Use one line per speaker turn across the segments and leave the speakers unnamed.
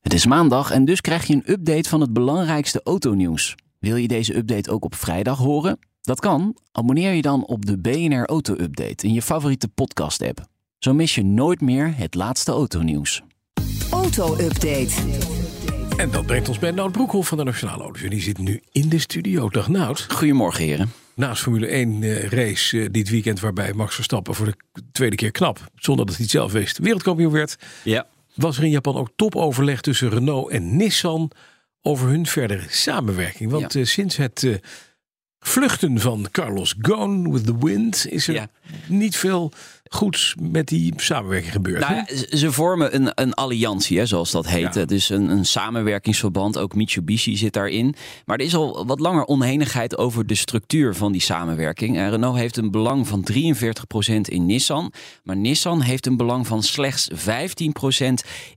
Het is maandag en dus krijg je een update van het belangrijkste autonieuws. Wil je deze update ook op vrijdag horen? Dat kan. Abonneer je dan op de BNR Auto Update in je favoriete podcast-app. Zo mis je nooit meer het laatste autonieuws.
Auto-update.
En dat brengt ons bij Nout Broekhoff van de Nationale Auto's. En die zit nu in de studio. Dag Nout.
Goedemorgen, heren.
Naast Formule 1 eh, race eh, dit weekend waarbij Max Verstappen voor de k- tweede keer knap, zonder dat hij het zelf wist, wereldkampioen werd.
Ja.
Was er in Japan ook topoverleg tussen Renault en Nissan over hun verdere samenwerking? Want eh, sinds het eh, vluchten van Carlos Ghosn with the wind is er
Ja.
niet veel goeds met die samenwerking gebeurd.
Nou,
hè?
ja, ze- ze vormen een, een alliantie, hè, zoals dat heet.
Ja.
Het is een, een samenwerkingsverband. Ook Mitsubishi zit daarin. Maar er is al wat langer onenigheid over de structuur van die samenwerking. En Renault heeft een belang van 43% in Nissan. Maar Nissan heeft een belang van slechts 15%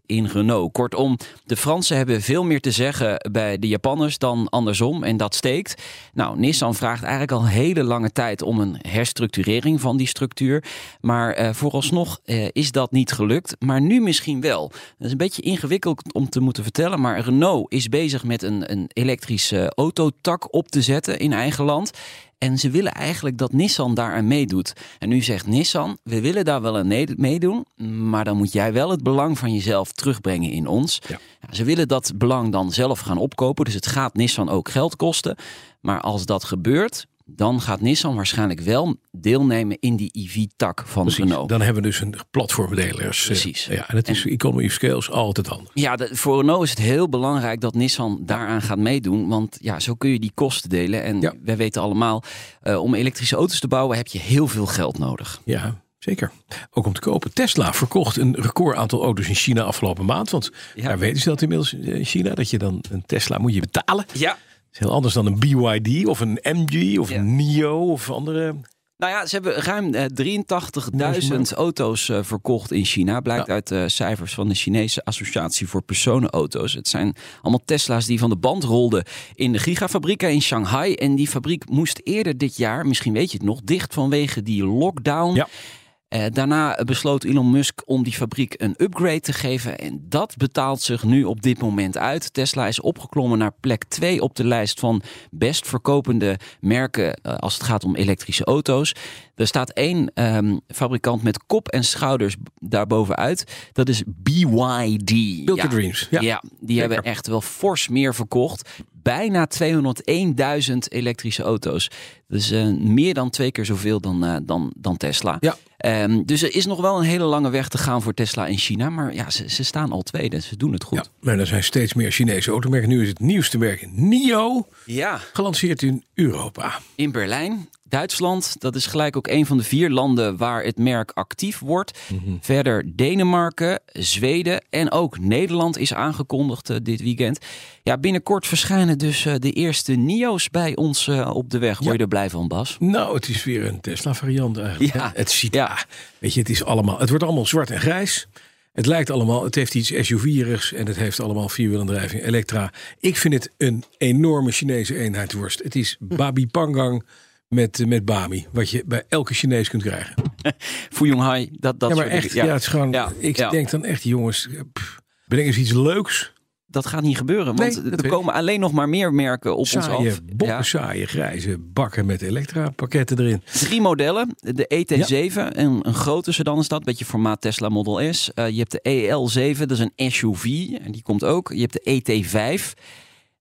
in Renault. Kortom, de Fransen hebben veel meer te zeggen bij de Japanners dan andersom. En dat steekt. Nou, Nissan vraagt eigenlijk al hele lange tijd om een herstructurering van die structuur. Maar eh, vooralsnog eh, is dat niet gelukt. Maar nu misschien wel. Dat is een beetje ingewikkeld om te moeten vertellen. Maar Renault is bezig met een, een elektrische eh, autotak op te zetten in eigen land. En ze willen eigenlijk dat Nissan daar aan meedoet. En nu zegt Nissan, we willen daar wel aan nee- meedoen. Maar dan moet jij wel het belang van jezelf terugbrengen in ons.
Ja.
Ja, ze willen dat belang dan zelf gaan opkopen. Dus het gaat Nissan ook geld kosten. Maar als dat gebeurt, dan gaat Nissan waarschijnlijk wel deelnemen in die EV-tak van
Precies.
Renault.
Dan hebben we dus een platformdelers. eh,
Precies.
Ja, en het is economy of scales altijd anders.
Ja, de- voor Renault is het heel belangrijk dat Nissan daaraan gaat meedoen. Want ja, zo kun je die kosten delen. En
Ja.
wij weten allemaal, eh, om elektrische auto's te bouwen heb je heel veel geld nodig.
Ja, zeker. Ook om te kopen. Tesla verkocht een record aantal auto's in China afgelopen maand. Want
Ja.
daar weten ze dat inmiddels eh, in China. Dat je dan een Tesla moet je betalen.
Ja,
Dat is heel anders dan een BYD of een MG of
Ja.
een NIO of andere.
Nou ja, ze hebben ruim eh, 83.000
Duizend.
auto's eh, verkocht in China. Blijkt
Ja.
uit eh, cijfers van de Chinese Associatie voor Personenauto's. Het zijn allemaal Tesla's die van de band rolden in de gigafabrieken in Shanghai. En die fabriek moest eerder dit jaar, misschien weet je het nog, dicht vanwege die lockdown.
Ja.
Eh, daarna besloot Elon Musk om die fabriek een upgrade te geven. En dat betaalt zich nu op dit moment uit. Tesla is opgeklommen naar plek 2 op de lijst van best verkopende merken eh, als het gaat om elektrische auto's. Er staat één ehm, fabrikant met kop en schouders b- daarbovenuit. Dat is BYD.
Build
Ja.
your dreams. Ja.
Ja, die hebben echt wel fors meer verkocht. Bijna 201.000 elektrische auto's. Dus eh, meer dan twee keer zoveel dan, eh, dan, dan Tesla.
Ja.
Ehm, dus er is nog wel een hele lange weg te gaan voor Tesla in China. Maar ja, ze, ze staan al tweede. Ze doen het
Ja,
goed.
maar er zijn steeds meer Chinese automerken. Nu is het nieuwste merk NIO
Ja.
gelanceerd in Europa.
In Berlijn, Duitsland. Dat is gelijk ook een van de vier landen waar het merk actief wordt. Verder Denemarken, Zweden en ook Nederland is aangekondigd eh, dit weekend. Ja, binnenkort verschijnen dus eh, de eerste NIO's bij ons eh, op de weg. Word je
Ja.
er blij van, Bas?
Nou, het is weer een Tesla-variant eigenlijk.
Ja.
hè? Het ziet,
Ja.
ja. Weet je, het is allemaal, het wordt allemaal zwart en grijs. Het lijkt allemaal, het heeft iets SUV-erigs en het heeft allemaal vierwielaandrijving, elektra. Ik vind het een enorme Chinese eenheidsworst. Het is
Hm.
babi pangang met, eh, met bami, wat je bij elke Chinees kunt krijgen.
Fuyonghai, dat, dat
ja, maar
soort
echt, ja.
dingen.
het is gewoon,
Ja,
ik
ja.
denk dan echt, jongens, eh, pff, bedenk eens iets leuks.
Dat gaat niet gebeuren,
Nee,
want
dat
er
weet ik.
komen alleen nog maar meer merken op ons
Saaie,
af.
bokken,
Ja.
saaie, grijze bakken met elektra-pakketten erin.
Drie modellen. De ET7, een, een grote sedan is dat. beetje formaat Tesla Model S. Eh, je hebt de EL7, dat is een SUV. En die komt ook. Je hebt de E ET5.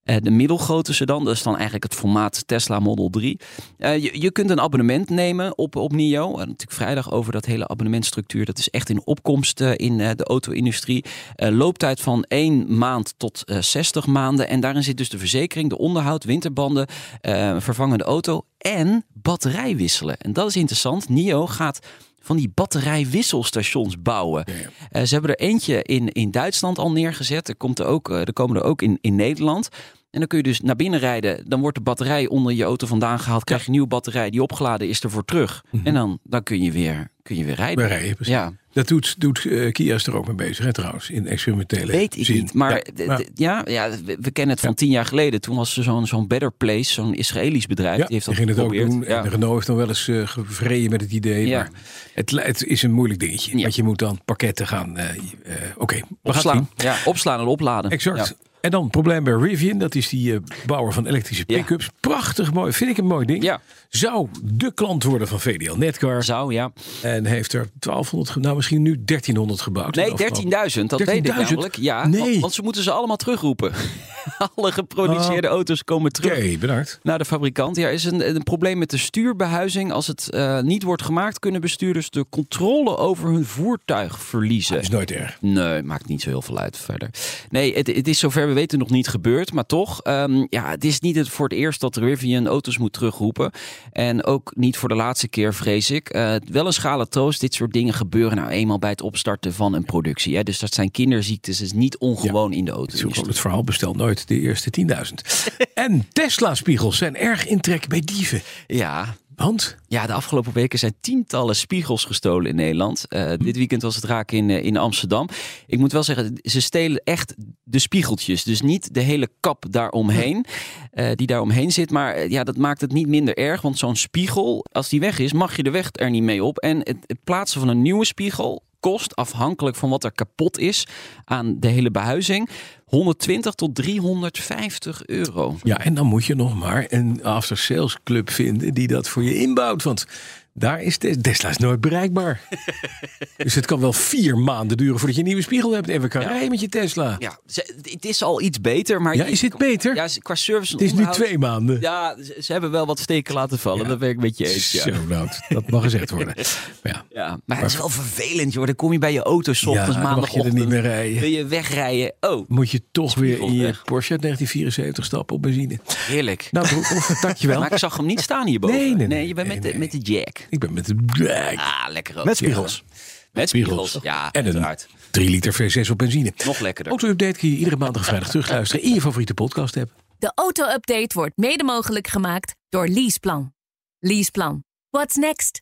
eh, de middelgrote sedan, dat is dan eigenlijk het formaat Tesla Model 3. Eh, je, je kunt een abonnement nemen op, op NIO. En natuurlijk vrijdag over dat hele abonnementstructuur. Dat is echt in opkomst eh, in eh, de auto-industrie. Eh, looptijd van 1 maand tot eh, 60 maanden. En daarin zit dus de verzekering, de onderhoud, winterbanden, eh, vervangende auto en batterij wisselen. En dat is interessant. NIO gaat van die batterijwisselstations bouwen. Eh, ze hebben er eentje in, in Duitsland al neergezet. Er, komt er, ook, eh, er komen er ook in, in Nederland. En dan kun je dus naar binnen rijden. Dan wordt de batterij onder je auto vandaan gehaald. Krijg je een nieuwe batterij die opgeladen is ervoor terug. En dan, dan kun, je weer, kun je weer rijden.
Bij Mhm. rijden, precies.
Ja,
Dat doet, doet eh, Kia is er ook mee bezig, hè, trouwens, in experimentele
weet ik
zin.
niet. Maar d- d-
Ja,
ja, ja, we, we kennen het van tien jaar geleden. Toen was er zo'n zo'n Better Place, zo'n Israëlisch bedrijf.
Ja,
die heeft dat
ging het ook
geprobeerd.
doen.
Ja.
En de Renault heeft dan wel eens eh gevreden met het idee.
Ja.
Maar het, li- het is een moeilijk dingetje.
Ja.
Want je moet dan pakketten gaan. eh, eh, Oké, we gaan het zien.
Opslaan. Ja, opslaan en opladen.
Exact.
Ja.
En dan probleem bij Rivian. Dat is die eh, bouwer van elektrische
Ja.
pick-ups. Prachtig mooi. Vind ik een mooi ding.
Ja.
Zou de klant worden van VDL Netcar.
Zou, ja.
En heeft er 1200, ge- nou misschien nu 1300 gebouwd.
Nee, 13.000.
Of-
Dat weet ik
13.000?
namelijk. Ja,
Nee.
want, want ze moeten ze allemaal terugroepen. Alle geproduceerde
Oh.
auto's komen terug.
Oké, bedankt.
Naar de fabrikant. Ja, er is een, een probleem met de stuurbehuizing. Als het eh, niet wordt gemaakt, kunnen bestuurders de controle over hun voertuig verliezen.
Ah, Is nooit erg.
Nee, maakt niet zo heel veel uit verder. Nee, het, het is zover we weten nog niet gebeurd. Maar toch, ehm, ja, het is niet het voor het eerst dat Rivian auto's moet terugroepen. En ook niet voor de laatste keer, vrees ik. Eh, wel een schale troost, dit soort dingen gebeuren nou eenmaal bij het opstarten van een productie. Hè? Dus dat zijn kinderziektes, dat is niet ongewoon in de
Het is ook wel
auto.
het verhaal, bestel nooit de eerste 10.000. en Tesla-spiegels zijn erg in trek bij dieven.
Ja,
Want
Ja, de afgelopen weken zijn tientallen spiegels gestolen in Nederland. Eh, dit weekend was het raak in, eh, in Amsterdam. Ik moet wel zeggen, ze stelen echt de spiegeltjes. Dus niet de hele kap daaromheen, eh, die daaromheen zit. Maar eh, ja, dat maakt het niet minder erg. Want zo'n spiegel, als die weg is, mag je de weg er niet mee op. En het, het plaatsen van een nieuwe spiegel kost, afhankelijk van wat er kapot is aan de hele behuizing, 120 tot 350 euro.
ja, en dan moet je nog maar een after-sales club vinden die dat voor je inbouwt. Want daar is Tes- Tesla is nooit bereikbaar. dus het kan wel vier maanden duren voordat je een nieuwe spiegel hebt. En we kan rijden met je Tesla.
Ja, ze- het is al iets beter, maar
Ja, is dit beter?
Ja, ze- qua service.
het is nu twee maanden.
Ja, ze, ze hebben wel wat steken laten vallen. Dat ben ik met je eens. Ja.
Zo, nou, dat mag gezegd worden. Maar Ja.
Ja, maar het is wel vervelend, joh. Dan kom je bij je auto 's ochtends,
Ja, dan mag je er
maandagochtend.
niet meer rijden.
Wil je wegrijden? Oh,
Moet je toch weer in je
Spiegelweg.
Porsche uit 1974 stappen op benzine.
heerlijk.
Nou, Broekhoff, dankjewel.
maar ik zag hem niet staan hierboven.
Nee, nee, nee.
je bent
Nee,
met, de,
nee.
met de jack.
Ik ben met de...
Ah, lekker ook.
Met spiegels.
Ja. Met spiegels, ja.
en een
uiteraard.
3 liter V6 op benzine.
Nog lekkerder.
Auto-update kun je iedere maandag en vrijdag terugluisteren in je favoriete podcast-app.
De auto-update wordt mede mogelijk gemaakt door Leaseplan. Leaseplan. What's next?